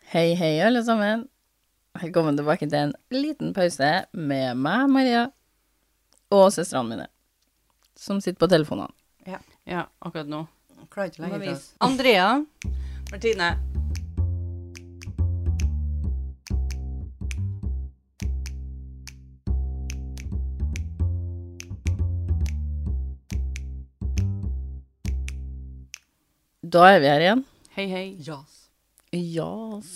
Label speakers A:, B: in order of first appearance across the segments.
A: Hei, hei, alle sammen. Velkommen tilbake til en liten pause med meg, Maria, og søstrene mine, som sitter på telefonene.
B: Ja, akkurat nå.
C: Klarer ikke å legge fra
B: Mavis.
C: oss.
B: Andrea. Martine.
A: Da er vi her igjen.
B: Hei, hei.
C: Yes.
A: Yes.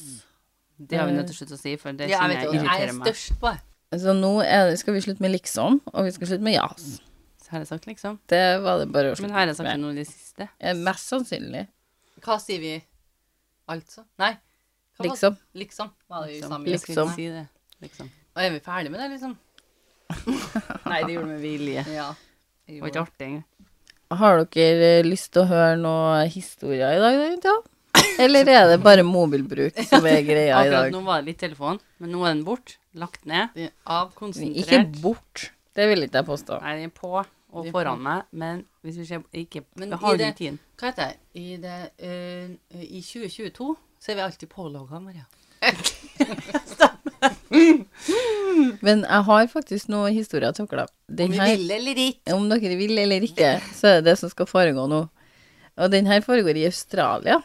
B: Det har vi nødt til å slutte å si, for det
C: Eh, Ja,
B: kjenner
C: jeg vet
B: jeg
C: det. Jeg
B: irriterer
C: er
B: meg.
C: størst på det.
A: Så nå er det, skal vi slutte med liksom, og vi skal slutte med jas.
B: Så her er sagt, liksom.
A: Det var det bare å
B: Men
A: slutte
B: her er sagt
A: med.
B: noe i det siste.
A: Eh, Mest sannsynlig.
C: Hva sier vi? Altså? Nei. Hva var-
A: Liksom.
C: Liksom. Var det i
B: Liksom.
C: samme
B: Jeg skulle
A: Liksom.
B: Si det. liksom.
C: Og er vi ferdig med det, liksom?
B: Nei, det gjorde vi med vilje.
C: Ja.
B: Det var ikke artig engang.
A: Har dere eh, lyst til å høre noen historier i dag, egentlig? Eller er det bare mobilbruk som er greia i
B: Akkurat
A: dag?
B: nå var det litt telefon, men nå er den bort. Lagt ned.
C: Det- Av
A: Ikke
B: Konsentrert.
A: bort. Det vil ikke jeg påstå.
B: Nei, den er på og
C: Den er
B: foran meg, men hvis vi ser ikke
C: Men
B: Vi
C: i
B: har den
C: det-
B: tiden.
C: Hva heter det? I, det eh, I 2022 så er vi alltid pålogga, Maria.
A: Men jeg har faktisk noen historier til dere.
C: Om
A: Den
C: vi
A: her,
C: vil eller ikke.
A: om dere vil eller ikke, så er det det som skal foregå nå. Og den her foregår i Australia.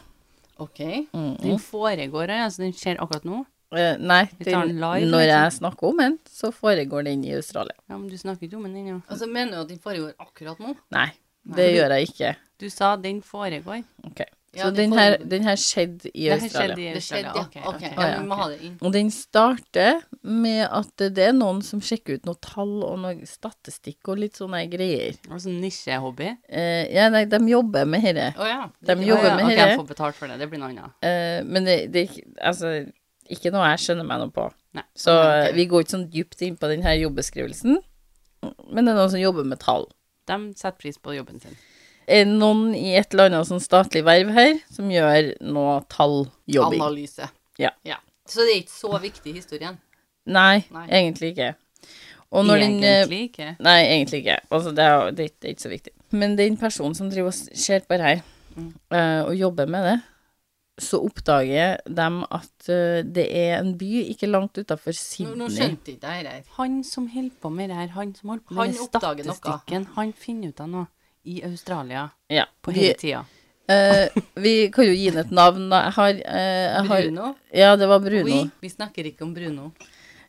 C: OK.
A: Mm.
B: Den foregår, ja, så den skjer akkurat nå.
A: Eh, nei,
B: Vi tar
A: den,
B: den live,
A: når
B: liksom.
A: jeg snakker om den, så foregår den i Australia.
B: Ja, men du snakker ikke om den ennå.
C: Altså, mener du at den foregår akkurat nå?
A: Nei, det gjør jeg ikke.
B: Du sa den foregår.
A: Ok.
C: Ja,
A: Så
C: det
A: den her,
C: foregår.
A: den her skjedde i
B: Det her
A: Australia.
B: skjedde i
C: Det
B: Australia.
C: skjedde, ja.
B: Ok,
C: OK.
B: ok.
C: Ja, vi må ha det inn.
A: Og den starter med at det er noen som sjekker ut noen tall og noe statistikk og litt sånne greier.
B: Og sånn nisjehobby.
A: Eh, ja, nei, de jobber med dette.
C: Å ja.
A: De
C: Det-
A: jobber
C: Å, ja.
A: med
B: Ok,
A: dette.
B: jeg får betalt for det. Det blir noe annet.
A: Eh, men det, det er ikke, altså, ikke noe jeg skjønner meg noe på.
B: Nei.
A: Så
B: Nei, ok.
A: vi går ikke sånn dypt inn på denne jobbeskrivelsen, men det er noen som jobber med tall.
B: De setter pris på jobben sin.
A: Er det noen i et eller annet sånn statlig verv her som gjør noe talljobbing?
C: Analyse.
A: Ja.
C: Så det er ikke så viktig, historien.
A: Nei,
C: Nei.
A: egentlig ikke. Og når den, eh,
B: Egentlig ikke.
A: Nei, egentlig ikke. Altså, det, er, jo- det, er ikke- det er ikke så viktig. Men den personen som driver og s- ser på det her, eh, og jobber med det, så oppdager de at eh, det er en by ikke langt utafor
C: Nå,
A: Sydney.
C: nå skjønte ikke jeg det her.
B: Han som holder på med det her, han som holder på
C: Han
B: med det
C: oppdager noe.
B: statistikken, han finner ut av noe i Australia
A: Ja.
B: på
A: vi,
B: hele tida.
A: eh, vi kan jo gi den et navn, da. Jeg har, eh, jeg har
C: Bruno?
A: Ja, det var Bruno.
C: Oui, vi snakker ikke om Bruno.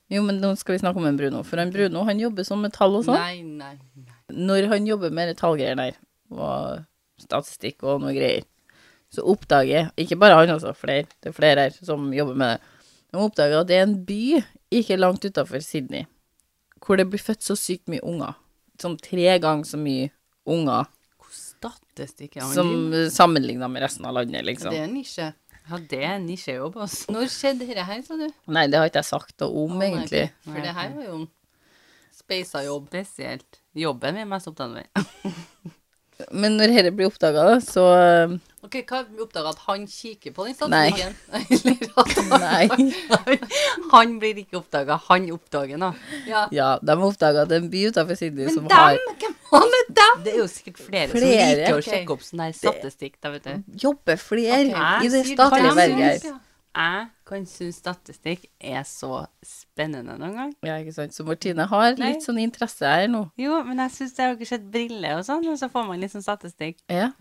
A: Jo, men nå skal vi snakke om en Bruno. For han Bruno han jobber sånn med tall og sånn.
C: Nei, nei, nei.
A: Når han jobber med de tallgreier der, og statistikk og noe greier, så oppdager Ikke bare han, altså. Flere. Det er flere her som jobber med det. De oppdager at det er en by ikke langt utafor Sydney hvor det blir født så sykt mye unger. Sånn tre ganger så mye unger
C: Hvor statistikk er han
A: som
C: driver med?
A: sammenligna med resten av landet, liksom.
C: Det er en nisje.
B: Ja, det er en nisjejobb, altså.
C: Når skjedde dette her, sa du?
A: Nei, det har ikke jeg sagt noe om,
C: Å, nei,
A: egentlig.
C: For det her var jo en speisa jobb.
B: Spesielt. Jobben vi er mest opptatt av.
A: Men når dette blir oppdaga, så eh,
C: Ok, hva oppdaga at han kikker på den
A: Nei.
C: statistikken? Eller at han
A: Nei.
B: Han blir ikke oppdaga, han oppdager noe.
C: Ja.
A: Ja, de oppdaga at det er en by utenfor Sydney som har
C: Dem! Hvem var med dem?
B: Det er jo sikkert flere, som
A: Flere,
B: liker å
C: ok.
B: sjekke opp sånn der statistikk, da, vet du.
A: Jobber flere
B: Ok,
A: i det
B: sier du
A: statlige
B: hva de
A: verget.
C: syns, ja.
B: Jeg kan synes statistikk er så spennende noen gang.
A: Ja, ikke sant. Så Martine har
B: Nei.
A: litt sånn interesse her nå.
B: Jo, men jeg syns det har ikke sett briller og sånn, og så får man litt sånn statistikk.
A: Ja.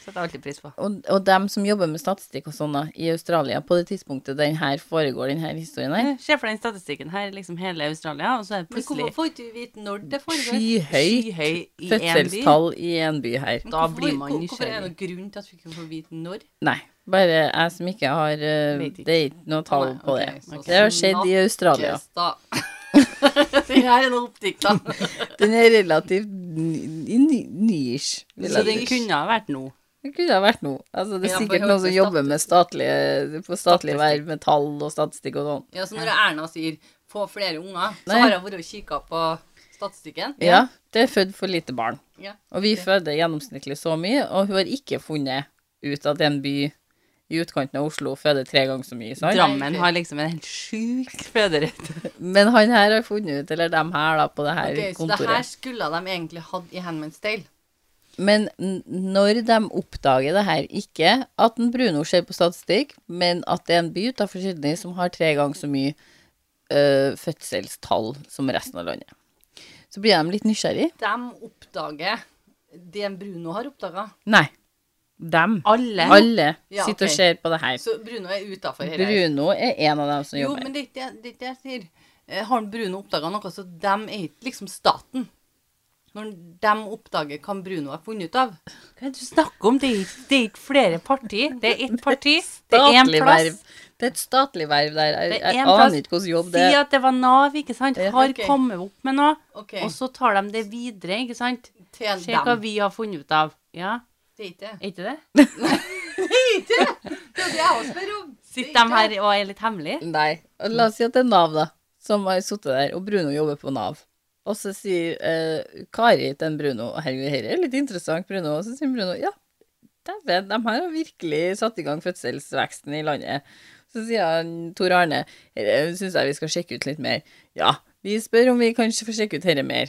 B: Setter jeg alltid pris på.
A: Og, og dem som jobber med statistikk og sånn da, i Australia, på det tidspunktet den her foregår, den her historien her,
B: Se for deg den statistikken her, liksom hele Australia, og så er det
C: Men
B: plutselig
C: hvorfor får ikke du vite når det foregår?
A: skyhøyt
B: skyhøy i en by.
A: fødselstall i en by her.
C: Men
B: Da blir man
C: hvor- Hvorfor er det
B: nysgjerrig.
C: noen grunn til at vi ikke får vite når?
A: Nei. Bare jeg som ikke har eh,
B: Vet ikke.
A: Det er ikke noe tall
C: Nei,
A: på
C: ok,
A: det.
C: så
A: Det har skjedd i Australia.
C: Yes, da. det her er noe oppdikta.
A: Den er relativt ny- ny- nyish. vil
B: Så
A: jeg
B: den
A: si.
B: kunne ha vært nå.
A: Det kunne ha vært noe. Altså, det
C: Ja,
A: er
C: på
A: sikkert noen som
C: høyeste
A: jobber med statlige, på statlige
B: Statistikk.
A: verv, med tall og statistikk og sånn.
C: Ja, så når Erna sier 'få flere unger', så
A: Nei.
C: har jeg vært og kikka på statistikken.
A: Ja, det er født for lite barn.
C: Ja.
A: Og vi
C: Ok.
A: føder gjennomsnittlig så mye, og hun har ikke funnet ut at en by i utkanten av Oslo føder tre ganger så mye. Sant?
B: Drammen har liksom en helt sjuk føderett.
A: Men han her har funnet ut, eller dem her da, på det her
C: Ok, så det her
A: kontoret.
C: skulle de egentlig hatt i Handmaid's Tale.
A: Men n- når de oppdager det her, ikke at en Bruno ser på statistikk, men at det er en by utenfor Sydney som har tre ganger så mye øh, fødselstall som resten av landet. Så blir de litt nysgjerrig.
C: De oppdager det en Bruno har oppdaga.
A: Nei. Dem.
B: Alle.
A: Alle
C: Ja,
A: sitter
C: ok.
A: og ser på det her.
C: Så Bruno er utafor her.
A: Bruno er en av dem som
C: Jo,
A: jobber.
C: men det er ikke det- det er ikke det jeg sier. Eh, Har Bruno oppdaga noe, så de er ikke liksom staten. Når de oppdager hva Bruno har funnet ut av.
B: Hva er det du snakker om? Det er, ikke- det er ikke flere parti. Det er ett parti. Det er én
A: Statlig
B: plass.
A: verv. Det er et statlig verv der. Jeg,
B: Det er
A: jeg
B: en plass.
A: aner ikke hvordan jobb det
B: Si
A: er.
B: at det var Nav, ikke sant.
A: Ja,
B: Har
C: ok.
B: kommet opp med noe.
C: Ok,
B: Og så tar de det videre, ikke sant.
C: til
B: Se hva
C: dem.
B: vi har funnet ut av. Ja,
C: Det er ikke det.
B: er ikke det?
C: Det er ikke det. Det er det jeg også spør om.
B: Sitter de her og er litt hemmelige?
A: Nei. Og La oss si at det er Nav, da, som har sittet der, og Bruno jobber på Nav. Og så sier eh, Kari til en Bruno herregud, dette er litt interessant, Bruno. Og så sier Bruno ja, dæven, de her har virkelig satt i gang fødselsveksten i landet. Så sier han Tor Arne, dette syns jeg vi skal sjekke ut litt mer. Ja, vi spør om vi kan få sjekke ut dette mer.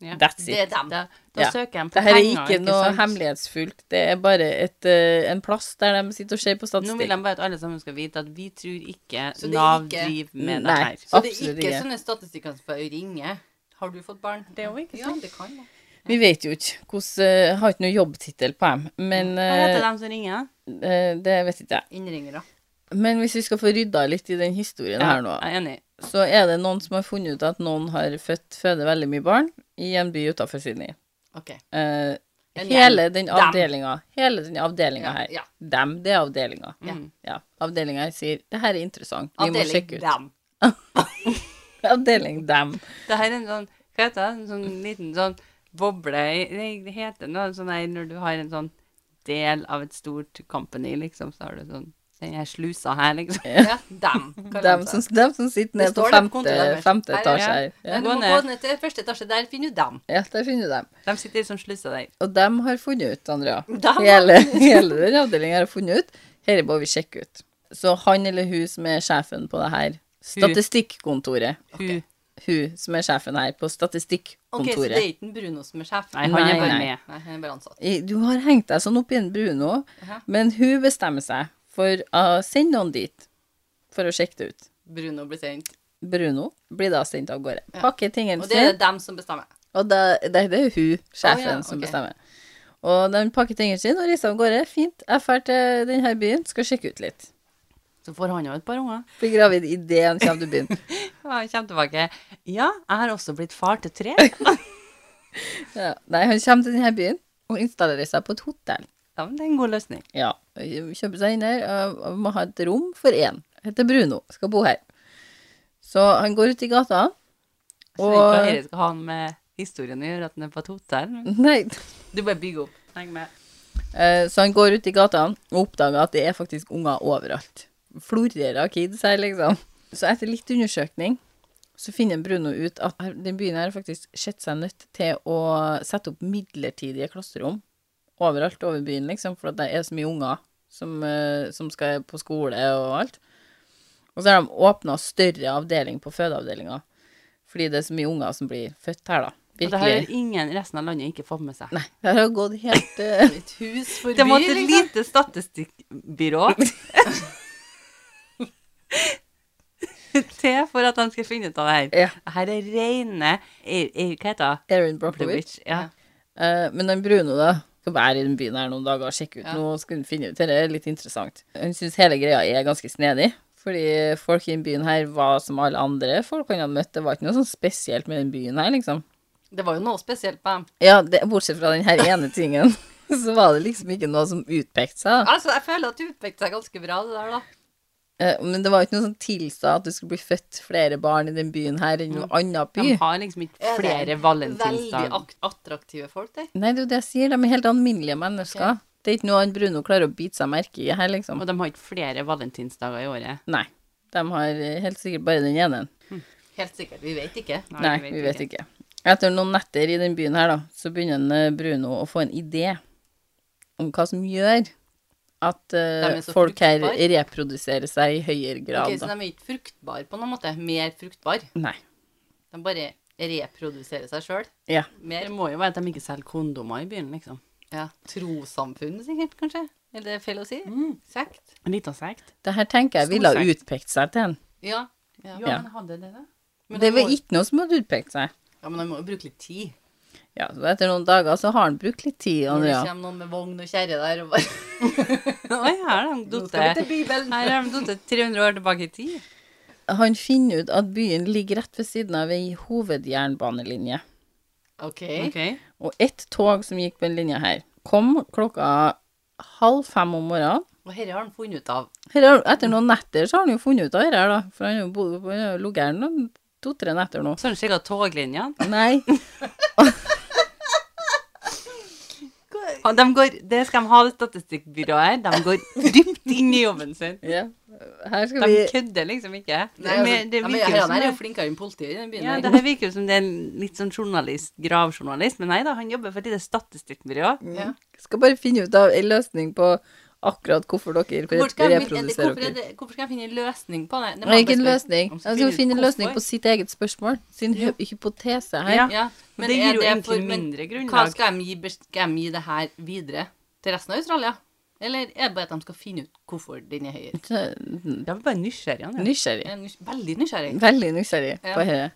B: Ja.
A: That's it.
C: Det er dem.
B: Da, da
A: Ja.
B: søker de på
A: Det her
B: penger.
A: er ikke noe
B: sant?
A: hemmelighetsfullt. Det er bare et, eh, en plass der de sitter og ser på
B: Nå vil
A: statistikk.
B: de bare at alle sammen skal vite at vi tror ikke
C: Så det er
B: Nav
C: ikke-
B: driver med det
A: Nei.
B: her.
C: Så det er
A: Absolutt
C: ikke
A: ikke.
C: sånne statistikker som bare ringer. Har du fått barn?
B: Det er jo ikke
C: Ja, det kan det.
A: Vi vet jo ikke hvordan eh, Har ikke noe jobbtittel på dem. Men
B: Hva heter
A: eh,
B: de som ringer?
A: eh, det vet ikke jeg.
C: Innringere.
A: Men hvis vi skal få rydda litt i den historien her nå,
B: jeg er enig.
A: så er det noen som har funnet ut at noen har født føder veldig mye barn i en by utafor Sydney.
C: OK.
A: Eh,
C: En
A: hele den
C: Dem.
A: avdelinga. Hele den avdelinga
C: Ja,
A: her.
C: ja.
A: Dem, det er avdelinga.
C: Ja.
B: Mm.
A: Ja. Avdelinga her sier det her er interessant, vi må
C: Avdeling
A: sjekke ut.
C: dem.
A: Avdeling dem.
B: Det her er en sånn Hva heter det? En sånn liten sånn boble i- nei, Det heter noe sånn her når du har en sånn del av et stort company, liksom, så har du sånn den her slusa her, liksom.
C: Ja, dem. kaller de
A: Dem
C: seg.
A: som, dem som sitter nede på
C: står det på
A: femte,
C: kontoret deres.
A: femte
C: Her,
A: etasje
B: ja.
A: her.
C: Nei,
A: Ja,
C: du
B: Gå
C: må
B: ned.
C: gå ned til første etasje. Der finner du dem.
A: ja der finner du dem.
B: De sitter i sånn slusa der.
A: Og dem har funnet ut, Andrea.
C: Dem
A: Hele, hele den avdelinga har funnet ut. Dette må vi sjekke ut. Så han eller hun som er sjefen på det her Statistikkontoret.
B: Hun.
A: Hun som er sjefen her på
C: Ok, så det
A: Statistikkontoret.
C: er ikke en Bruno som er sjef?
B: Nei, han er
A: Nei,
B: bare
A: nei.
B: med.
C: Nei, han er bare ansatt.
A: I- Du har hengt deg sånn opp i en Bruno,
C: Hæ?
A: men hun bestemmer seg for å sende noen dit for å sjekke det ut.
C: Bruno blir sendt.
A: Bruno blir da sendt av gårde.
C: Ja.
A: Pakker tingene
C: Og det er det dem som bestemmer.
A: Og da, det, det er jo hun, sjefen,
C: Å, ja,
A: som
C: ok.
A: bestemmer. Og de pakker tingene sine og reiser av gårde. Fint, jeg drar til denne byen, skal sjekke ut litt.
B: Så får han jo et par unger.
A: Blir gravid idet han kommer til byen.
B: Og han kommer tilbake. Ja, jeg har også blitt far til tre.
A: Ja. Nei, han kommer til denne byen og installerer seg på et hotell.
B: Ja, men det er en god løsning.
A: Ja, Kjøper seg inn her og- og må ha et rom for én. Heter Bruno, skal bo her. Så han går ut i gata,
B: Jeg skjønner ikke hva
A: og
B: dette skal ha med historien å gjøre, at den er på et hotell. men
A: Nei.
B: Du bare bygger opp. Heng med.
A: Eh, Så han går ut i gata og oppdager at det er faktisk unger overalt. Florerer av kids her, liksom. Så etter litt undersøkning så finner Bruno ut at her- den byen her har faktisk sett seg nødt til å sette opp midlertidige klasserom overalt over byen, liksom, for at det er så mye unger som, eh, som skal på skole og alt. Og så har de åpna større avdeling på fødeavdelinga, fordi det er så mye unger som blir født her, da.
B: Og det har
A: Virkelig.
B: ingen resten av landet ikke fått med seg.
A: Nei, det har gått helt eh,
C: Et hus for
B: Det
C: by,
B: måtte et
C: liksom.
B: lite statistikkbyrå til for at han skulle finne ut av det her.
A: Ja.
B: Her er rene er, er, Hva heter det?
A: Erin
B: The
A: Brockovich.
B: Witch. Ja.
A: Eh, men den Bruno, da, skal være i den byen her noen dager og sjekke ut
C: Ja.
A: noe. Skal hun finne ut, Dette er litt interessant. Hun syns hele greia er ganske snedig. Fordi folk i den byen her var som alle andre folk han hadde møtt. Det var ikke noe sånn spesielt med den byen her, liksom.
C: Det var jo noe spesielt med dem.
A: Ja, det, bortsett fra den her ene tingen, så var det liksom ikke noe som utpekte seg. da.
C: Altså, jeg føler at det utpekte seg ganske bra, det der, da.
A: Eh, men det var ikke noe som tilsa at det skulle bli født flere barn i den byen her enn i noen annen by.
B: De har liksom ikke
C: Er det
B: flere
C: Veldig
B: valentinsdager.
C: ak attraktive folk der.
A: Nei, det er jo det jeg sier. De er helt alminnelige mennesker. Det er ikke noe han Bruno klarer å bite seg merke i her, liksom.
B: Og de har ikke flere valentinsdager i året.
A: Nei. De har eh, helt sikkert bare den ene.
C: Helt sikkert. Vi vet ikke.
A: Nei, vi vet ikke. Etter noen netter i den byen her, da, så begynner en, eh, Bruno å få en idé om hva som gjør at eh,
C: De er så
A: folk her
C: fruktbare.
A: reproduserer seg i høyere grad.
C: Ok, så de
A: da.
C: er ikke fruktbare på noen måte. Mer fruktbare.
A: Nei.
C: De bare reprodusere seg sjøl.
A: Ja.
B: Det må jo være at de ikke selger kondomer i byen, liksom.
C: Ja. Trossamfunn, sikkert, kanskje? Er det feil å si?
B: Mm.
C: Sekt?
B: En liten sekt.
A: Det her tenker jeg ville ha
B: Storsekt.
A: utpekt seg til en.
C: Ja. ja.
A: Ja.
B: men hadde det det?
C: Men
A: Det
C: han
A: var
C: må-
A: ikke noe som hadde utpekt seg.
C: Ja, men han må jo bruke litt tid.
A: Ja, så etter noen dager så har han brukt litt tid,
C: Når det
A: Andrea.
C: kommer noen med vogn og kjerre der og bare
B: Oi, her har de
C: Nå skal vi
B: duttet
C: til Bibelen!
B: Her har de duttet 300 år tilbake i tid.
A: Han finner ut at byen ligger rett ved siden av ei hovedjernbanelinje.
C: OK.
B: Ok.
A: Og ett tog som gikk på den linja her, kom klokka halv fem om morgenen.
C: Og dette har han funnet ut av.
A: Her har, etter noen netter så har han jo funnet ut av dette, her, da. For han har jo bodd- han har jo ligget her noen to-tre netter nå.
B: Så har de sjekket toglinjene.
A: Nei.
B: Og de går, det skal de ha, det statistikkbyrået her. De går dypt inn i jobben sin.
A: Ja. Her skal
B: De
A: vi
B: kødder liksom ikke.
C: Nei,
B: Men
C: altså,
B: det
C: ja, men
B: virker jo
C: herrene
B: som
C: her er
B: det-
C: jo flinkere enn politiet i den byen.
B: Ja,
C: her.
B: det her virker jo som det er en litt sånn journalist, gravjournalist, men nei da, han jobber for et lite statistikkbyrå.
C: Ja.
A: skal bare finne ut av en løsning på akkurat hvorfor dere
C: Hvor skal jeg, finne- eller
A: reproduserer
C: hvorfor, er
A: dere.
C: det, hvorfor skal jeg finne en løsning på det?
A: Nei, ikke en løsning.
B: Om
A: Jeg
B: skal
A: skal
B: finne
A: finne
B: ut
A: en løsning
B: hvorfor.
A: på sitt eget spørsmål, sin hy- hypotese her.
B: Ja.
C: Ja, men
B: det
C: er
B: gir jo
C: for-
B: egentlig
C: men
B: mindre
C: Hva
B: grunnlag.
C: skal de gi, bes- skal de gi det her videre til resten av Australia? Eller er det bare at de skal finne ut hvorfor den er høyere?
A: Så-
B: Da er vi bare nysgjerrige. han, Ja.
A: Nysgjerrig.
C: Jeg er nys veldig nysgjerrig.
A: Veldig nysgjerrig
C: Ja.
A: på dette.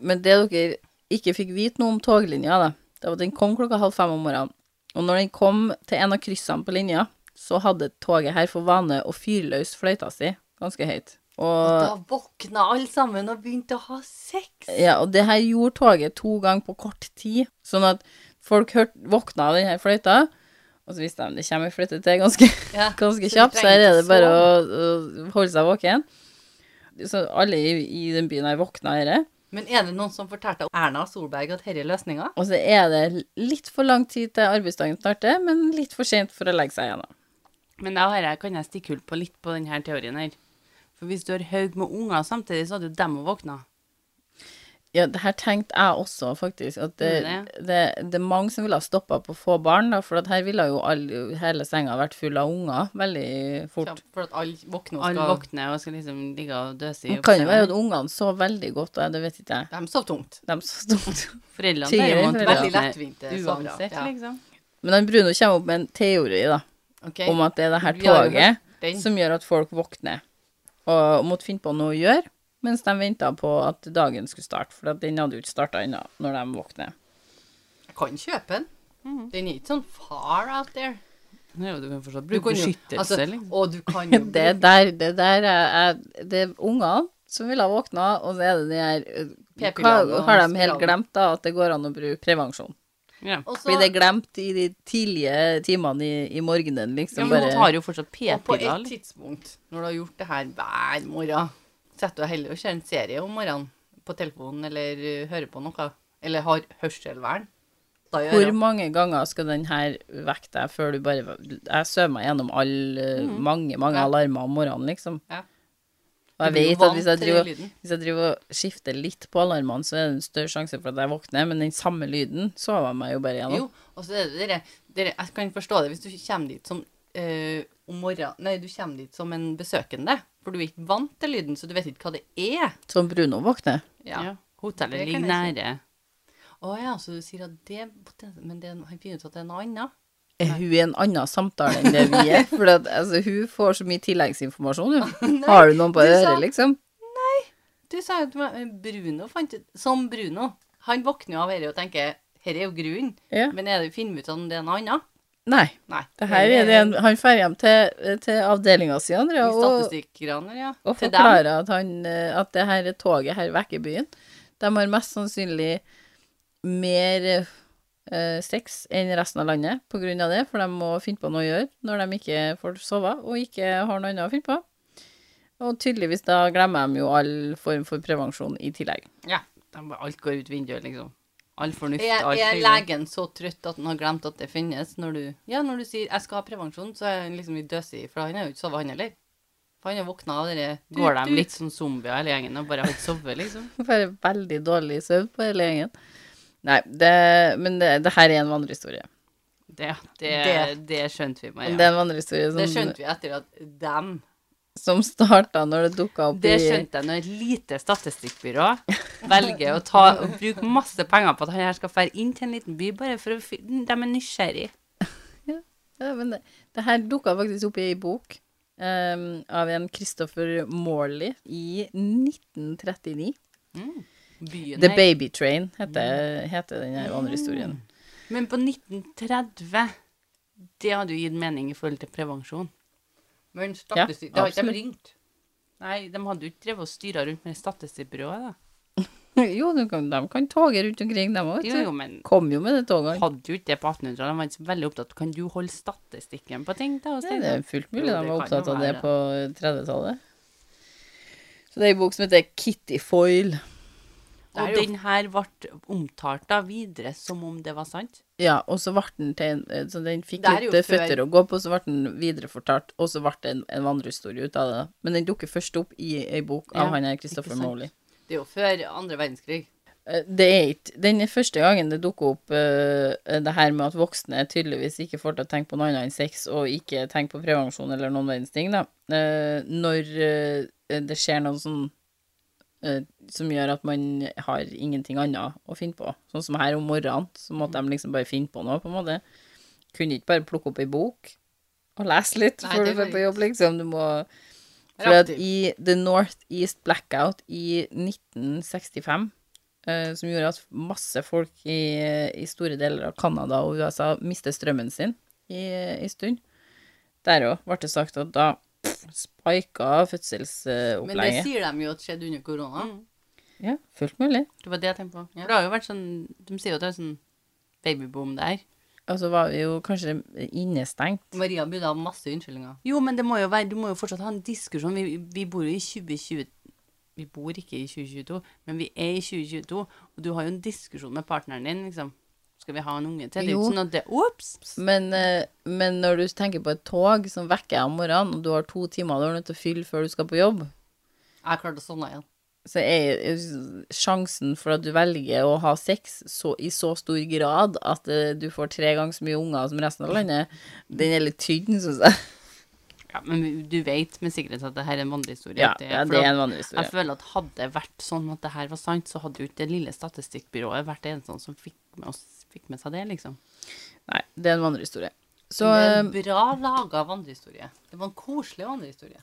A: Men det dere ikke fikk vite noe om toglinja, da, det var at den kom klokka halv fem om morgenen. Og når den kom til en av kryssene på linja, så hadde toget her for vane å fyre løs fløyta si ganske høyt. Og
C: Da våkna alle sammen og begynte å ha sex.
A: Ja, og det her gjorde toget to ganger på kort tid. Sånn at folk hørt, våkna av denne fløyta, og så visste de det kommer en fløyte til ganske,
C: Ja,
A: ganske
C: så de
A: kjapt, så her
C: trengte
A: er det bare å, å
C: sove.
A: holde seg våken. Så alle i, i den byen her våkna av dette.
C: Men er det noen som fortalte Erna Solberg at dette er løsninga?
A: Og så er det litt for lang tid til arbeidsdagen starter, men litt for sent for å legge seg igjen. da.
B: Men da har jeg, kan jeg stikke hull på litt på denne teorien her. For hvis du har haug med unger samtidig, så hadde jo dem å våkne.
A: Ja, det her tenkte jeg også, faktisk. At det,
B: Mm,
A: det, det er mange som ville ha stoppa på få barn, da, for at her ville jo alle, hele senga vært full av unger veldig fort.
C: For at alle våkner og
B: Alle
C: skal
B: våkner og skal liksom ligge og døse i
A: Det kan jo være at ungene sov veldig godt, og det vet ikke jeg.
C: De sov tungt.
A: De sov tungt.
B: Foreldrene
A: Tyre
B: derimot
A: foreldre.
B: våkner
C: Veldig lettvinte sovere.
B: Uansett,
C: Ja.
B: liksom.
A: Men han Bruno kommer opp med en teori da,
C: Ok.
A: om at det er det her
C: Vi har jo hørt
A: toget
C: den.
A: som gjør at folk våkner og måtte finne på noe å gjøre mens de venta på at dagen skulle starte, for at den hadde jo ikke starta ennå når de våkner.
C: Jeg kan kjøpe den. Den er ikke sånn far out there.
B: Nå er jo du kan forstå
C: Du
B: bruke
C: kan jo-
B: beskyttelse,
C: altså,
B: liksom.
C: Og du kan jo
A: Det er der, det er der er, er, det er ungene som ville ha våkna, og så er det de her eh,
C: P-pillene
A: hva-
C: og
A: Har de helt
C: spiralen.
A: glemt da at det går an å bruke prevensjon?
B: Ja.
C: Og så-
A: Blir det glemt i de tidlige timene i, i morgenen,
B: Ja,
A: liksom?
B: men hun
A: bare-
B: tar jo fortsatt
C: Og på et
B: p-piller. liksom.
C: tidspunkt, når du har gjort det her hver morgen, setter du deg heller og ser en serie om morgenen på telefonen, eller uh, hører på noe, eller har hørselvern. Da gjør
A: Hvor
C: jeg-
A: mange ganger skal den her vekke deg før du bare Jeg sover meg gjennom alle mange, mange
C: Mm. Ja.
A: alarmer om morgenen, liksom.
C: Ja.
A: Og jeg
C: Du blir jo
A: vet at
C: vant
A: hvis jeg,
C: til
A: driver,
C: lyden.
A: hvis jeg driver og skifter litt på alarmene, så er det en større sjanse for at jeg våkner, men den samme lyden sover jeg meg jo bare gjennom.
C: Jo, og så er det dere, dere Jeg kan forstå det hvis du kommer dit som eh, om morgenen Nei, du kommer dit som en besøkende, for du er ikke vant til lyden, så du vet ikke hva det er.
A: Som Bruno våkner.
C: Ja.
B: Ja. Hotellet
C: Det
B: ligger
C: kan jeg
B: nære.
C: Å ja, så du sier at det Men det, er en- han finner ut at det er noe annet.
A: Er hun i en annen samtale enn det vi er? For at, altså, hun får så mye tilleggsinformasjon, hun. Har du noen på
C: du sa-
A: øret, liksom?
C: Du sa jo at men Bruno fant ut Som Bruno. Han våkner jo av dette og tenker Her er jo grunnen.
A: Ja.
C: Men er det finner vi ut om det er noe annet?
A: Nei.
C: Nei.
A: Det her er det en, han drar hjem til, til avdelinga si, Andrea,
C: eh, I
A: og
C: statistikkgraner, ja.
A: Og
C: Til dem.
A: forklarer at, han, eh, at det her toget her vekker byen. De har mest sannsynlig mer eh, sex enn resten av landet på grunn av det, for de må finne på noe å gjøre når de ikke får sove og ikke har noe annet å finne på. Og tydeligvis da glemmer de jo all form for prevensjon i tillegg.
B: Ja. De bare, alt går ut vinduet, liksom. All fornuft,
C: Er,
B: alt
C: er
B: liksom.
C: legen så trøtt at han har glemt at det finnes? Når du, ja, når du sier 'jeg skal ha prevensjon', så er han liksom i døsig, for han har jo ikke sovet, han heller. For han har våkna av det
B: Går de litt som zombier hele gjengen og bare har ikke sovet, liksom?
A: Bare veldig dårlig søvn på hele gjengen. Nei, det, men det, det her er en vandrehistorie.
B: Det, det, det skjønte vi,
A: Men
B: Maria.
A: Det er en vandrehistorie som
C: Det skjønte vi etter at dem
A: som starta når det dukka opp
B: Det
A: i
B: skjønte jeg når et lite statistikkbyrå velger å ta, å bruke masse penger på at han her skal fære inn til en liten by bare for å fi- De er nysgjerrig.
A: Ja, men det, det her dukka faktisk opp i ei bok ehm, av en Christopher Morley i 1939.
B: Byen
A: The
B: her.
A: Baby Train heter, heter den her andre historien.
B: Men på 1930 Det hadde jo gitt mening i forhold til prevensjon.
C: Men statistikk
A: Ja,
C: Det har ikke
A: absolutt.
C: de ringt.
B: Nei, de hadde jo ikke drevet og styra rundt med statistikkbyrået, da.
A: jo, de kan, de kan toge rundt omkring, dem òg.
B: Jo, jo, men
A: Kom jo med det toget.
B: hadde jo ikke det på 1800-tallet. De var ikke så veldig opptatt Kan du holde statistikken på ting? da? Og
A: Nei, det er fullt mulig
B: Jo,
A: de
B: det
A: var
B: kan jo
A: opptatt av det
B: være.
A: på 30-tallet. Så det er ei bok som heter Kitty Foyle.
C: Det er
B: og
C: jo-
B: den her ble omtalt da videre som om det var sant.
A: Ja, og så ble den til en Så den fikk
C: Det er
A: litt
C: jo
A: eh,
C: før-
A: føtter å gå på, så ble den viderefortalt, og så ble det en, en vandrehistorie ut av det. da. Men den dukker først opp i ei bok av
B: Ja,
A: han her Christopher
B: ikke sant.
A: Morley.
C: Det er jo før andre verdenskrig.
A: Eh, Det er ikke Den er første gangen det dukker opp eh, det her med at voksne tydeligvis ikke får til å tenke på noe annet enn sex, og ikke tenke på prevensjon eller noen verdens ting, da. Eh, når eh, det skjer noe sånn eh, som gjør at man har ingenting annet å finne på. Sånn som her om morgenen, så måtte de liksom bare finne på noe, på en måte. Kunne ikke bare plukke opp ei bok og lese litt
C: Nei,
A: før du
C: det går
A: drar på jobb, liksom. Du må
C: Være
A: For at
C: aktiv.
A: i The Northeast Blackout i 1965, eh, som gjorde at masse folk i, i store deler av Canada og USA mistet strømmen sin i en stund, der òg ble det sagt at da pff, spika
C: Men det
A: fødselsopplegget.
C: sier de jo at skjedde under korona.
B: Mm.
A: Ja, fullt mulig.
B: Det var det jeg tenkte på.
C: Ja.
B: For det har jo vært sånn De sier jo at det er sånn babyboom der.
A: Og så var vi jo kanskje innestengt.
C: Maria burde ha masse unnskyldninger.
B: Jo, men det må jo være Du må jo fortsatt ha en diskusjon. Vi, vi bor jo i 2020 Vi bor ikke i 2022, men vi er i 2022, og du har jo en diskusjon med partneren din, liksom. Skal vi ha en unge til? Det er jo
A: Jo.
B: ikke sånn at det Ops!
A: Men, eh, men når du tenker på et tog som vekker deg om morgenen, og du har to timer du er nødt til å fylle før du skal på jobb,
C: Jeg klarte å sovne igjen.
A: så er er sjansen for at du velger å ha sex så, i så stor grad at eh, du får tre ganger så mye unger som resten av landet, den er litt tynn, syns jeg.
B: Ja, men du vet med sikkerhet at det her er en vandrehistorie.
A: Ja,
B: at det er-
A: ja,
B: for
A: det er
B: at-
A: en vanlig
B: Jeg
A: historie.
B: føler at hadde det vært sånn at det her var sant, så hadde jo ikke det lille statistikkbyrået vært det eneste som fikk med, oss, fikk med seg det, liksom.
A: Nei, det er en vanlig historie. Så
C: Det er
A: eh,
C: en bra laga vandrehistorie. Det var en koselig vandrehistorie.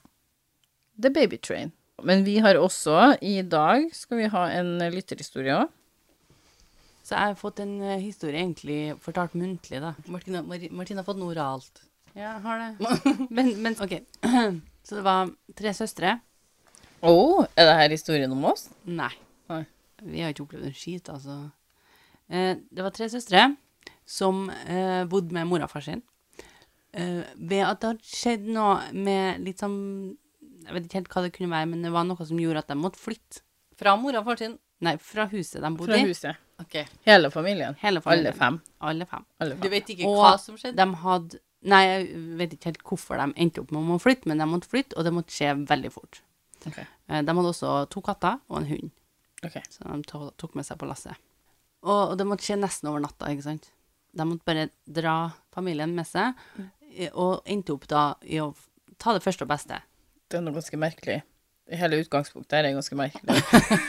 A: The Baby Train. Men vi har også I dag skal vi ha en lytterhistorie òg.
B: Så jeg har fått en eh, historie egentlig fortalt muntlig, da.
C: Martine, Mari- Martine har fått noe oralt.
B: Ja, jeg har det. Men, men OK. Så det var tre søstre.
A: Å, Oh, er det her historien om oss?
B: Nei.
A: Nei.
B: Vi har ikke opplevd en skit, altså. Eh, det var tre søstre som eh, bodde med mora og far sin. Eh, ved at det hadde skjedd noe med litt sånn Jeg vet ikke helt hva det kunne være, men det var noe som gjorde at de måtte flytte.
C: Fra mora og far sin.
B: Nei, fra huset de bodde
A: Fra
B: i.
A: huset.
C: Ok.
A: Hele familien. Alle
B: Hele familien.
A: fem.
B: Alle fem.
A: Alle
C: Du
A: fem.
C: vet ikke
B: Og
C: hva som skjedde?
B: De hadde Nei, jeg vet ikke helt hvorfor de endte opp med å flytte, men de måtte flytte, og det måtte skje veldig fort.
A: Ok.
B: Eh, De hadde også to katter og en hund,
A: Ok.
B: som de to- tok med seg på lasset. Og, og det måtte skje nesten over natta, ikke sant? De måtte bare dra familien med seg,
C: Mm.
B: eh, og endte opp da i å f- ta det første og beste.
A: Det er noe ganske merkelig. Hele utgangspunktet her er ganske merkelig.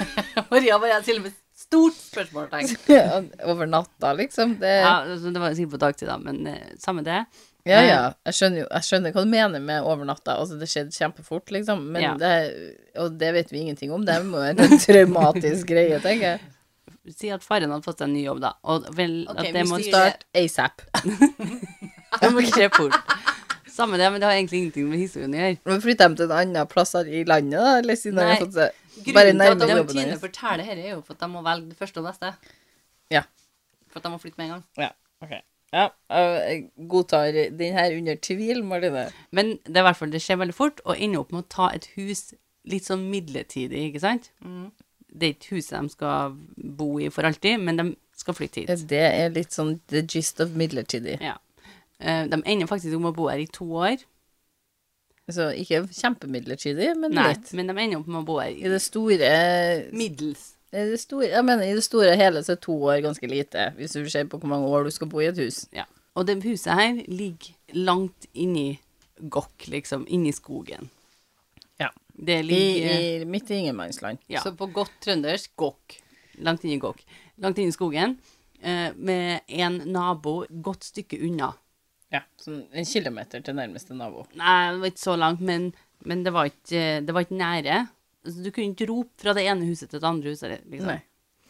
C: Maria bare er til og med stort spørsmålstegn.
A: Over natta, liksom. Det, ja.
B: Ja, altså, det var sikkert på dagtid, da, men eh, samme det.
A: ja, Jeg skjønner jo jeg skjønner hva du mener med over natta. Altså, det skjedde kjempefort, liksom. Men
B: Ja.
A: det, og det vet vi ingenting om. Det må være en traumatisk greie, tenker jeg.
B: Si at faren hadde fått seg en ny jobb, da, og vel
C: Ok,
B: at det
C: vi
B: måtte
C: sier-
A: Start ASAP.
B: Det må skje fort. Samme det, men det har egentlig ingenting med historien å gjøre.
A: Nå flytter de til en annen plass her i landet, da? Eller siden de
B: Nei,
A: har fått seg bare
C: Grunnen til at
A: nærmere jobben
C: Martine
A: deres?
C: forteller dette, er jo for at de må velge det første og beste.
A: Ja.
C: For at de må flytte med en gang.
A: Ja, ok. Ja, jeg godtar den her under tvil, Martine.
B: Men det, er i hvert fall, det skjer veldig fort, og ender opp med å ta et hus litt sånn midlertidig, ikke sant?
A: Mm.
B: Det er ikke huset de skal bo i for alltid, men de skal flytte hit.
A: Det er litt sånn the gist of midlertidig.
B: Ja. Eh, De ender faktisk opp med å bo her i to år.
A: Så ikke kjempemidlertidig, men
B: Nei,
A: litt.
B: men de ender opp med å bo her
A: I
B: i
A: det store
B: middels.
A: I det store, jeg mener, i det store og hele så er to år ganske lite, hvis du ser på hvor mange år du skal bo i et hus.
B: Ja. Og det huset her ligger langt inni gokk, liksom, inni skogen. Det
A: I,
B: ligger
A: i, midt i ingenmannsland.
B: Ja.
C: Så på godt trøndersk gokk.
B: langt inn i gokk. Langt inn i skogen, eh, med en nabo godt stykke unna.
A: Ja, sånn en kilometer til nærmeste nabo.
B: Nei, det var ikke så langt, men, men det, var ikke, det var ikke nære. Altså, du kunne ikke rope fra det ene huset til det andre huset. Liksom.
A: Nei.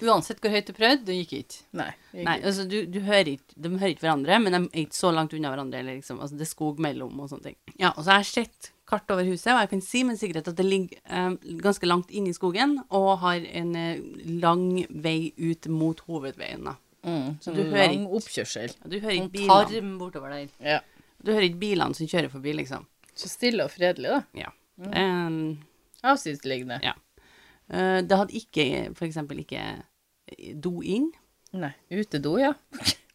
C: Uansett hvor høyt du prøvde, det gikk ikke.
A: Nei. det
B: Nei,
A: gikk
B: altså du, du hører ikke, De hører ikke hverandre, men de er ikke så langt unna hverandre. Eller liksom, altså Det er skog mellom og sånne ting. Ja, og så har jeg sett kart over huset, og jeg kan si med sikkerhet at det ligger eh, ganske langt inne i skogen og har en eh, lang vei ut mot hovedveien. da.
A: ikke. Mm,
B: Så
A: sånn
B: du hører
A: lang oppkjørsel.
B: Du hører
C: Noen
B: ikke bilene,
C: tarm bortover der.
A: Ja.
B: du hører ikke bilene som kjører forbi, liksom.
A: Så stille og fredelig, da.
B: Ja. Eh,
A: Avsidesliggende.
B: Ja. eh, det hadde ikke, for eksempel, ikke do inn.
A: Nei. Utedo, ja.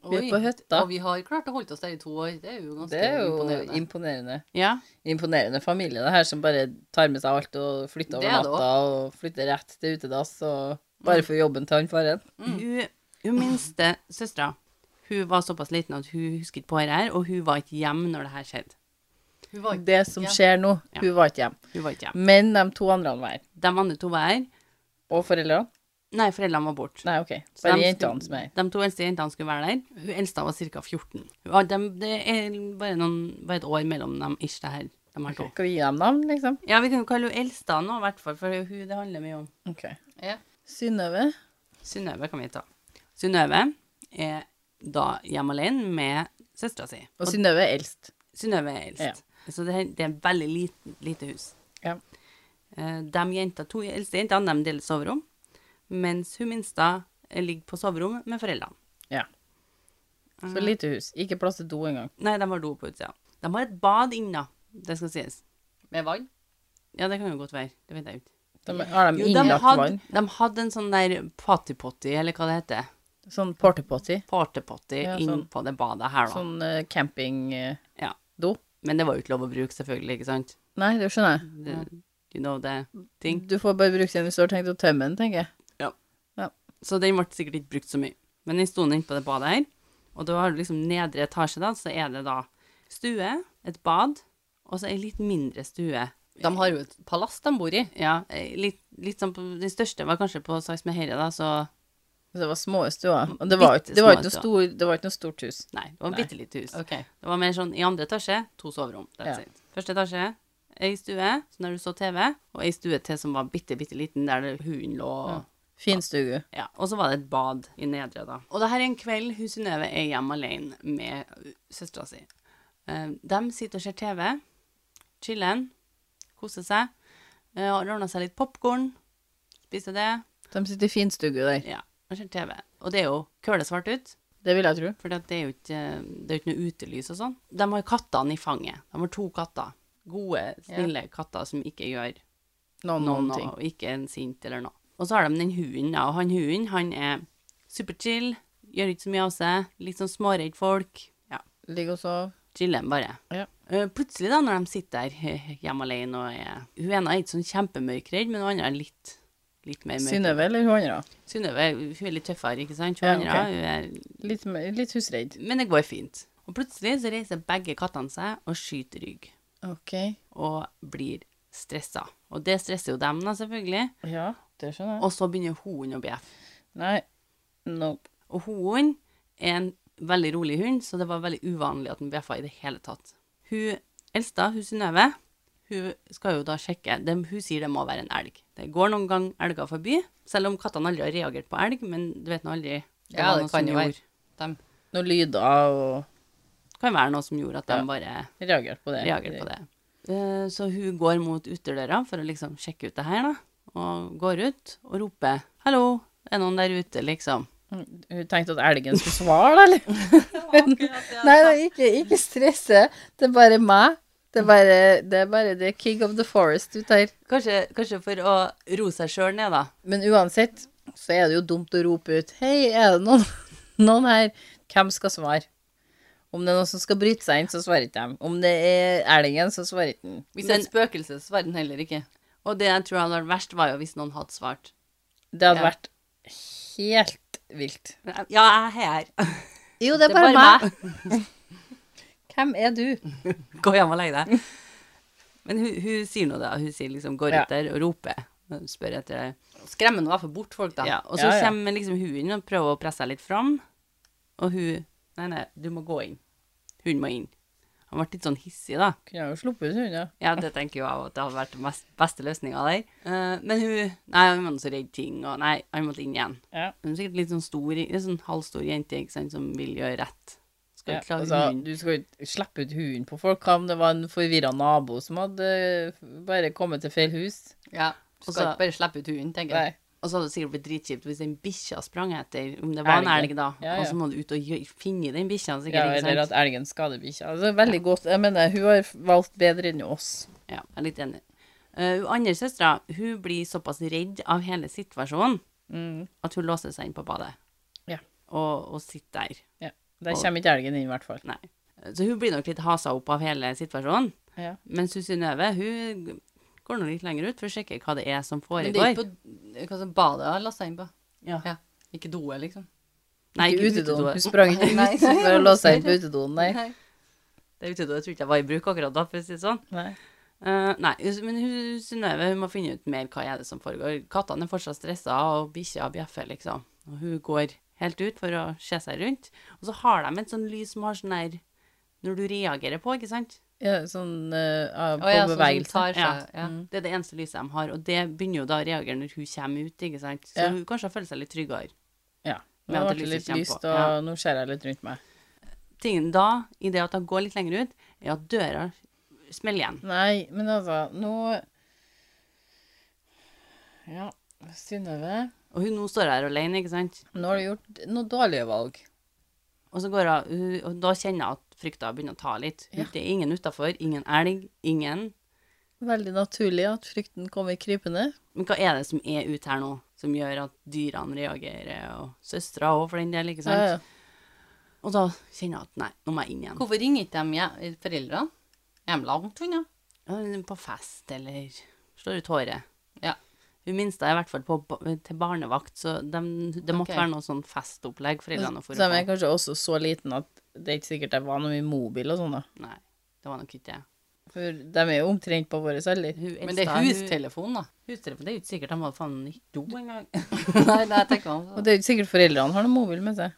A: Vi er
C: Oi,
A: på hytta.
C: Og vi har klart å holde oss der i to år. Det er jo ganske
A: Det er jo
C: imponerende.
A: imponerende.
B: Ja.
A: Imponerende familie, det her, som bare tar med seg alt og flytter
C: Det
A: over
C: er det
A: natta og flytter rett til utedass og bare for jobben til han faren. Mm.
B: Hun, hun minste søstera hun var såpass liten at hun husket på dette, her, og hun var ikke hjemme når det her skjedde.
C: Hun var ikke-
A: Det som
C: Ja.
A: skjer nå,
B: Ja.
A: hun var ikke hjemme.
B: Hun var ikke hjemme.
A: Men de to andre var her.
B: De andre to var her.
A: Og foreldrene?
B: Nei, foreldrene var borte.
A: Nei, OK.
B: Så
A: Bare
B: de
A: jentene
B: skulle-
A: som er her.
B: De to eldste jentene skulle være der. Hun eldste var ca. 14. Hun var- dem- det er bare, noen, bare et år mellom dem ish, det her. De her to.
A: Skal vi gi dem navn, liksom?
B: Ja, vi kan jo kalle henne Elsta nå, i hvert fall, for det er hun det handler mye om.
A: OK.
C: Ja.
A: Synnøve?
B: Synnøve kan vi ta. Synnøve er da hjemme alene med søstera si.
A: Og Synnøve er eldst.
B: Synnøve er eldst.
A: Ja.
B: Så det, her- det er et veldig lite, lite hus.
A: Ja.
B: Eh, De jenta, to eldste jentene de deler soverom, mens hun minste eh, ligger på soverom med foreldrene. Eh,
A: ja.
B: Mm.
A: Så lite hus. Ikke plass til do engang.
B: Nei, de har do på utsida. De har et bad inne, det skal sies.
C: Med vann.
B: Ja, det kan jo godt være. Det vet jeg ikke.
A: De, har de
B: Jo, de,
A: innlagt
B: hadde,
A: vann?
B: de hadde en sånn der potty-potty, eller hva det heter.
A: Sånn party-potty?
B: Party-potty
A: Ja,
B: inn
A: sånn.
B: på det badet her, da.
A: Sånn eh, campingdo?
B: Ja. Men det var jo ikke lov å bruke, selvfølgelig, ikke sant?
A: Nei, det skjønner jeg.
B: Det, you know the
C: Mm.
B: thing.
A: Du får bare bruke den hvis du har tenkt å tømme den, tenker jeg.
B: Så den ble sikkert ikke brukt så mye. Men den sto nå inne på det badet her. Og da har du liksom nedre etasje, da, så er det da stue, et bad, og så ei litt mindre stue.
C: De har jo et palass de bor i.
B: Ja, eh, litt, litt sånn på Den største var kanskje på Sarpsmeheia, da, så
A: Så Det var små stuer. Og det var, jo ikke-
B: Bitte
A: det, var
B: små
A: ikke noe stor, det var ikke noe stort hus.
B: Nei, det var et
A: Nei.
B: bitte lite hus.
C: Ok.
B: Det var mer sånn i andre etasje, to soverom. That's
A: Ja.
B: it. Første etasje, ei stue, så når du så TV, og ei stue til som var bitte, bitte liten, der det hunden lå. og-
A: Finstue.
B: Ja, og så var det et bad i nedre, da. Og det her er en kveld hun Synnøve er hjemme alene med søstera si. Eh, De sitter og ser TV, chiller'n, koser seg, eh, har ordna seg litt popkorn, spiser det,
A: De sitter i finstue der.
B: ja, og ser TV. Og det er jo kølesvart ut,
A: Det vil jeg tro.
B: for det er jo ikke, det er jo ikke noe utelys og sånn. De har kattene i fanget. De har to katter. Gode, snille katter som ikke gjør
A: Noen,
B: noen
A: noen ting.
B: og ikke en sint eller noe. Og så har de den hunden, da, og han hunden, han er superchill, gjør ikke så mye av seg, litt sånn småredd folk. Ja,
A: Ligger og sover.
B: chiller'n bare.
A: Ja.
B: Eh, Plutselig, da, når de sitter der eh, hjemme alene og er Hun ene er ikke sånn kjempemørkredd, men hun andre er litt, litt mer mørk.
A: Synnøve eller hun andre?
B: Synnøve hun er litt tøffere, ikke sant? Hun
A: Ja,
B: andre,
A: ok.
B: hun er
A: Litt, mer- litt husredd.
B: Men det går fint. Og plutselig så reiser begge kattene seg og skyter rygg.
A: OK.
B: Og blir stressa. Og det stresser jo dem, da, selvfølgelig.
A: Ja, det skjønner jeg.
B: Og så begynner hunden å bjeffe.
A: Nei. Nope.
B: Og hunden er en veldig rolig hund, så det var veldig uvanlig at den bjeffa i det hele tatt. Hun eldsta, hun Synnøve, hun skal jo da sjekke det, Hun sier det må være en elg. Det går noen gang elger forbi, selv om kattene aldri har reagert på elg, men du vet nå aldri.
C: Ja,
B: var
C: det
B: noe
C: kan
B: som
C: jo være.
B: gjorde-
C: De,
A: Noen lyder og
B: Det kan være noe som gjorde at de
A: Ja.
B: bare
A: reagerer på det.
B: reagerer på det. Eh, Så hun går mot uterdøra for å liksom sjekke ut det her, da. Og går ut og roper 'hallo, er noen der ute', liksom.
A: Mm, Hun tenkte at elgen skulle svare, da, eller? Nei, nei ikke, ikke stresse. Det er bare meg. Det er bare det er bare the king of the forest ute her.
B: Kanskje, kanskje for å roe seg sjøl ned, da.
A: Men uansett så er det jo dumt å rope ut Hei, er det noen, noen her? Hvem skal svare? Om det er noen som skal bryte seg inn, så svarer ikke de. Om det er elgen, så svarer ikke den.
C: hvis det er et spøkelse, så svarer den heller ikke.
B: Og det jeg tror hadde vært verst, var jo hvis noen hadde svart.
A: Det hadde
B: Ja.
A: vært helt vilt.
B: Ja, jeg er her.
A: Jo, det er bare, meg. Hvem er du?
B: Gå hjem og legg deg. Men hun, hun sier nå det. Hun sier liksom går
A: Ja.
B: ut der og roper. og Spør etter det.
C: Skremmer nå i hvert fall bort folk, da.
B: Ja, og så
A: Ja, ja.
B: kommer liksom hun inn og prøver å presse seg litt fram. Og hun Nei, nei, du må gå inn. Hun må inn. Han ble litt sånn hissig, da.
A: Kunne jeg jo sluppet ut hunden.
B: Ja, det tenker jo jeg også, at det hadde vært den mest- beste løsninga der. Eh, men hun Nei, han var nå så redd ting, og nei, han måtte inn igjen.
A: Ja.
B: Hun er sikkert litt sånn stor, litt sånn halvstor jente, ikke sant, som vil gjøre rett. Skal
A: Ja,
B: ikke la
A: altså,
B: hunden
A: du skal jo ikke slippe ut hunden på folk. Hva om det var en forvirra nabo som hadde eh, bare kommet til feil hus?
C: Ja. Du skal
B: Og så-
C: ikke bare slippe ut hunden, tenker
A: Nei.
C: jeg.
B: Og så hadde det sikkert blitt dritkjipt hvis den bikkja sprang etter, om det var en
A: Elgen.
B: elg, da.
A: Ja, ja.
B: Og så må du ut og gjø- finne den bikkja, sikkert,
A: Ja,
B: ikke sant.
A: eller at elgen skader bikkja. Altså, veldig godt. Jeg mener, hun har valgt bedre enn oss.
B: Ja, jeg er litt enig. Eh, hun andre søstera hun blir såpass redd av hele situasjonen
A: Mm.
B: at hun låser seg inn på badet
A: Ja.
B: og, og sitter der.
A: Ja. Der kommer ikke elgen inn, i hvert fall.
B: Nei. Så hun blir nok litt hasa opp av hele situasjonen.
A: Ja.
B: Mens hun Synnøve hun går nå litt lenger ut for å sjekke hva det er som
C: Men det
B: foregår.
C: er ikke på hva som badet har lasta inn på.
B: Ja.
C: Ja. Ikke doet, liksom.
B: Nei,
A: Ikke
B: ikke
A: utedoen.
B: utedoen.
A: Hun sprang ikke
C: Nei.
A: ut for å låse seg inn på utedoen, nei.
B: Det er utedo jeg tror ikke jeg var i bruk akkurat da. for å si det sånn.
A: nei.
B: Eh, nei, hun- men hun Synnøve hun må finne ut mer hva er det som foregår. Kattene er fortsatt stressa, og bikkja bjeffer, liksom. Og hun går helt ut for å se seg rundt. Og så har de et sånn lys som har sånn der Når du reagerer på, ikke sant?
A: Ja, sånn eh, av- på
C: Å ja, sånn som
A: bevegelse.
C: tar seg
B: Ja.
C: ja. Mm.
B: Det er det eneste lyset de har, og det begynner jo da å reagere når hun kommer ut, ikke sant? Så
A: Ja.
B: hun kanskje har følt seg litt tryggere.
A: ja.
B: Men
A: Nå
B: at
A: ble det
B: lyset
A: litt
B: kommer
A: lyst,
B: på.
A: og
B: Ja.
A: nå ser jeg litt rundt meg.
B: Tingen da, i det at hun går litt lenger ut, er at døra smeller igjen.
A: Nei, men altså, nå Ja, Synnøve.
B: Og hun nå står her alene, ikke sant?
A: Nå har du gjort noen dårlige valg.
B: Og så går hun, hun- og da kjenner jeg at frykta begynner å ta litt.
A: Ja.
B: Det er ingen utafor, ingen elg, ingen
A: Veldig naturlig at frykten kommer krypende.
B: Men hva er det som er ute her nå, som gjør at dyrene reagerer, og søstera òg, for den del, ikke sant?
A: Ja, ja.
B: Og da kjenner jeg at nei, nå må jeg inn igjen.
C: Hvorfor ringer ikke de hjem- foreldrene? Er de langt unna?
B: Ja, men På fest, eller slår ut håret.
C: Ja.
B: Hun minste er i hvert fall på, ba- til barnevakt, så dem- det måtte
C: Ok.
B: være noe sånn festopplegg foreldrene
A: Så
B: for
A: de er kanskje også så liten at det er ikke sikkert det var noe mye mobil og sånn, da.
B: Nei, det var nok ikke det.
A: For de er jo omtrent på vår alder.
B: Hun
C: Men det er
B: eldste, hun-
C: hustelefon, da.
B: Hustelefon, det er jo ikke sikkert de hadde faen ikke do engang.
C: Nei, det tenker jeg
A: Og
C: også.
A: det er jo ikke sikkert foreldrene har noe mobil med seg.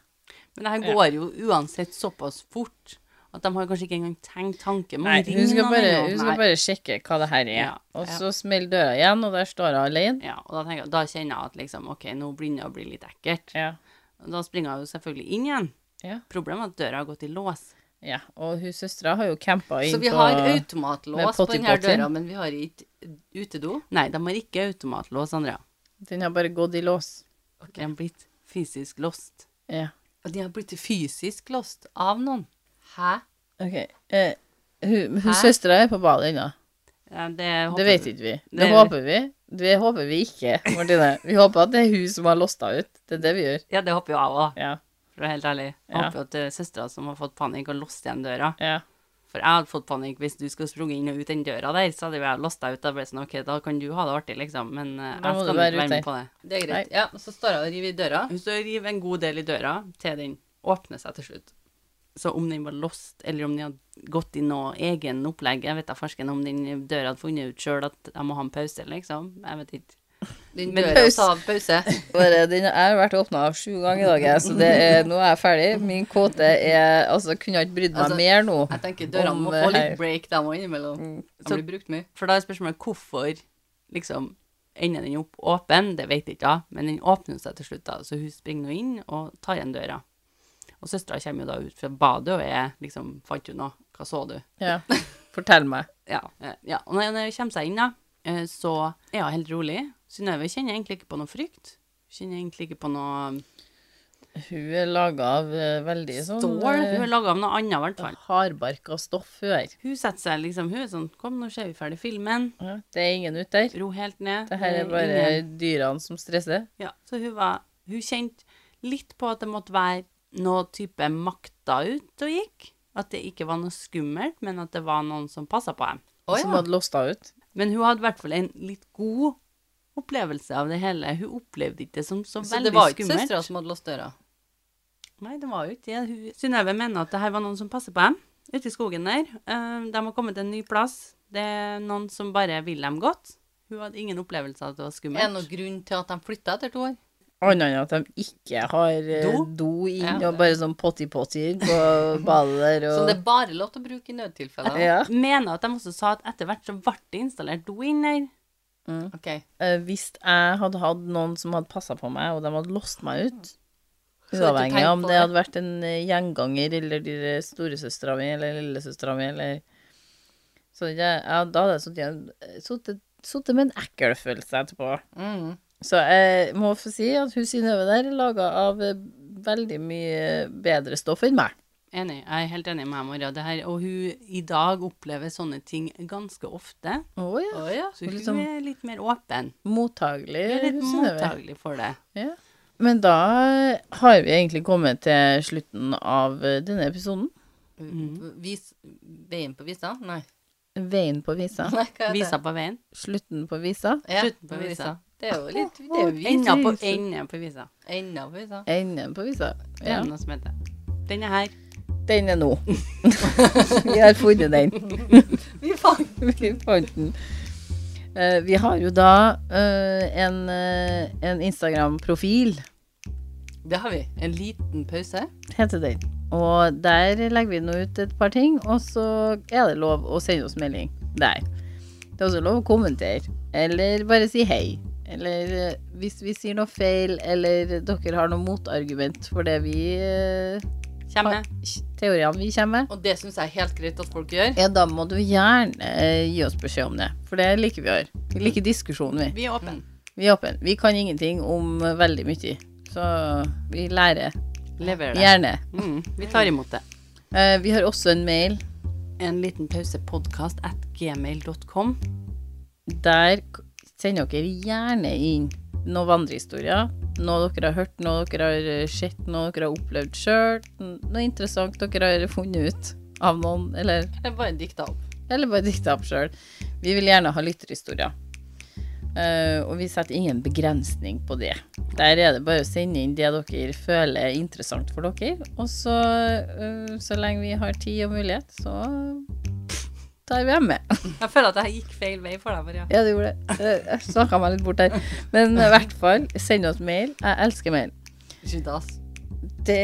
B: Men det her går jo uansett såpass fort at de har kanskje ikke engang tenkt tanken.
A: Nei, hun skal bare, hun skal bare sjekke hva det her er.
B: Ja,
A: Og
B: ja.
A: så smeller døra igjen, og der står hun alene.
B: Ja, og da, tenker, jeg- da kjenner jeg at liksom, ok, nå begynner det å bli litt ekkelt.
A: Ja.
B: Og da springer jeg jo selvfølgelig inn igjen.
A: Ja.
B: Problemet er at døra har gått i lås.
A: ja. Og hun søstera har jo campa inn
C: Så vi
A: på
C: har
A: med
C: automatlås på denne
A: potty-potty.
C: døra, men vi har ikke utedo.
B: Nei, de har ikke automatlås, Andrea.
A: Den har bare gått i lås.
B: De har blitt fysisk låst.
A: Ja.
C: Og de har blitt fysisk låst av noen. Hæ?
A: OK. Eh, hun hun
C: Hæ?
A: søstera er på badet ennå.
B: Ja, det,
A: Det vet ikke vi. Det,
B: Det-
A: håper vi. Det håper vi ikke, Martine. Vi håper at det er hun som har låst henne ut. Det er det vi gjør.
B: Ja, det håper jo jeg òg,
A: Ja.
B: for å være helt ærlig. Jeg
A: Ja.
B: håper jo at det er søstera som har fått panikk og låst igjen døra.
A: ja.
B: For jeg hadde fått panikk hvis du skulle sprunget inn og ut den døra der, så hadde jo jeg låst deg ut. Da ble det sånn, ok, da kan du ha det artig, liksom, men eh, jeg
A: Da må
B: skal
A: du
B: nok
A: være
B: være
A: ute.
B: med på det.
C: Det er greit. Ja, så står jeg og river i døra.
B: Hun står og river en god del i døra til den åpner seg til slutt. Så om den var låst, eller om den hadde gått i noe egen opplegg Jeg vet da farsken om den døra hadde funnet ut sjøl at jeg må ha en pause, liksom. Jeg vet ikke.
C: Den
B: Men
C: døra
A: pause.
C: sa pause.
A: Bare, den har vært åpna sju ganger i dag, jeg, så det er, nå er jeg ferdig. Min kåte er Altså, kunne jeg ikke brydd meg
C: Altså,
A: mer nå.
C: Jeg tenker dørene
A: Om,
C: må få
A: eh,
C: litt break, de òg, innimellom. De
B: Mm. Så-
C: blir brukt mye.
B: For da er spørsmålet hvorfor liksom ender den opp åpen, det vet jeg ikke, da, men den åpner seg til slutt, da. Så hun springer nå inn og tar igjen døra. Og søstera kommer jo da ut fra badet og er liksom Fant du noe? Hva så du?
A: Ja. Fortell meg.
B: Ja. eh, ja. Og når når hun kommer seg inn, da, eh, så er hun helt rolig. Synnøve kjenner egentlig ikke på noe frykt. Kjenner egentlig ikke på noe
A: Hun er laga av eh, veldig sånn
B: stål. Hun er
A: eh,
B: laga av noe annet, i hvert fall.
A: hardbarka stoff, hun her.
B: Hun setter seg liksom Hun er sånn Kom, nå ser vi ferdig filmen.
A: Ja, det er ingen ute der.
B: Ro helt ned.
A: Det her
B: Eh,
A: er bare
B: ingen-
A: dyrene som stresser.
B: Ja. Så hun var Hun kjente litt på at det måtte være noe type makta ut og gikk. At det ikke var noe skummelt, men at det var noen som passa på dem.
C: Å
A: Som
C: ja.
A: hadde låst henne ut.
B: Men hun hadde i hvert fall en litt god opplevelse av det hele. Hun opplevde ikke det som så,
C: Så
B: veldig
C: det var ikke
B: skummelt.
C: søstera som hadde låst døra.
B: Nei, det var jo ikke det. Hun- Synnøve mener at det her var noen som passer på dem, ute i skogen der. Eh, De har kommet til en ny plass. Det er noen som bare vil dem godt. Hun hadde ingen opplevelse av at det var
C: Er det noen
B: skummelt.
C: grunn til at de flytta etter to år?
A: Annet enn at de ikke har eh,
B: Do?
A: do inn,
C: Ja.
A: og bare sånn potty-potty på badet der.
C: Som det
A: Og,
C: er bare lov til å bruke i nødtilfeller?
A: ja.
B: Mener at de også sa at etter hvert så ble det installert do inn der.
C: Ok.
A: Eh, Hvis jeg hadde hatt noen som hadde passa på meg, og de hadde låst meg ut
C: du ikke
A: Uavhengig av om
C: tenkt på
A: det
C: det?
A: hadde vært en eh, gjenganger eller de der storesøstera mi eller lillesøstera mi eller Så jeg, ja, da hadde jeg sittet igjen- sittet- sittet med en ekkel følelse etterpå.
C: Mm.
A: Så jeg må få si at hun Synnøve der er laga av eh, veldig mye bedre stoff enn meg.
B: Enig. Jeg er helt enig med deg, Maria. Det her, og hun i dag opplever sånne ting ganske ofte.
A: Å ja.
C: Å ja.
B: Så
A: Og
B: hun
A: liksom-
B: er litt mer åpen.
A: Mottagelig,
B: Hun er litt
A: hun Synnøve.
B: mottagelig for det.
A: Ja. Men da har vi egentlig kommet til slutten av eh, denne episoden.
C: øh,
B: Mm.
C: Vis, veien på visa? Nei.
A: Veien på visa.
C: Nei, hva er det?
B: Visa på veien.
A: Slutten på visa.
C: Ja,
B: Slutten på visa.
C: Det er jo litt det er jo vis.
B: Enda på, enda på visa.
C: Enda på visa.
A: Enden på visa.
B: Det
A: Ja.
B: er noe som heter. Den er her.
A: Den er nå. vi har funnet den.
C: Vi fant
A: Vi fant den. Eh, vi har jo da eh, en, eh, en Instagram-profil,
C: Det har vi. En liten pause.
A: heter den. Og der legger vi nå ut et par ting, og så er det lov å sende oss melding der. Det er også lov å kommentere, eller bare si hei. Eller eh, hvis vi sier noe feil, eller dere har noe motargument for det vi eh,
B: Kommer.
A: Teoriene vi kommer med.
C: Og det syns jeg er helt greit at folk gjør.
A: Ja, da må du gjerne eh, gi oss beskjed om det, for det liker vi her. Vi liker diskusjonen, vi.
B: Vi er åpne.
A: Vi er åpne. Vi kan ingenting om eh, veldig mye, så vi lærer
B: Leverer det.
A: gjerne.
B: Mm, vi tar imot det.
A: Eh, vi har også en mail.
B: En liten pause podcast at gmail.com.
A: Der k- sender dere gjerne inn noen vandrehistorier. Noe dere har hørt, noe dere har eh, sett, noe dere har opplevd sjøl. Noe interessant dere har funnet ut av noen, eller
C: Det er bare dikta opp.
A: Eller bare dikte opp sjøl. Vi vil gjerne ha lytterhistorier. Eh, og vi setter ingen begrensning på det. Der er det bare å sende inn det dere føler er interessant for dere. Og så, eh, så lenge vi har tid og mulighet, så tar vi dem med.
B: Jeg føler at jeg gikk feil vei for deg, Maria.
A: Ja, du gjorde det. Eh, Jeg snakka meg litt bort der. Men i hvert fall, send oss mail. Jeg elsker mail.
C: Judas.
A: Det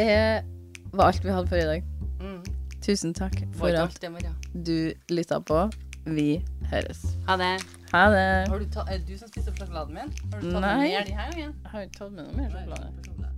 A: var alt vi hadde for i dag.
C: Mm.
A: Tusen takk for at
C: Var ikke alt det, Maria.
A: du lytta på. Vi høres.
B: Ha det.
A: Ha det.
C: Har du ta, er det du som spiser sjokoladen min? Har du tatt
A: Nei.
C: mer de her gangen?
A: Jeg har ikke tatt med noe mer sjokolade.
C: Sjokolade.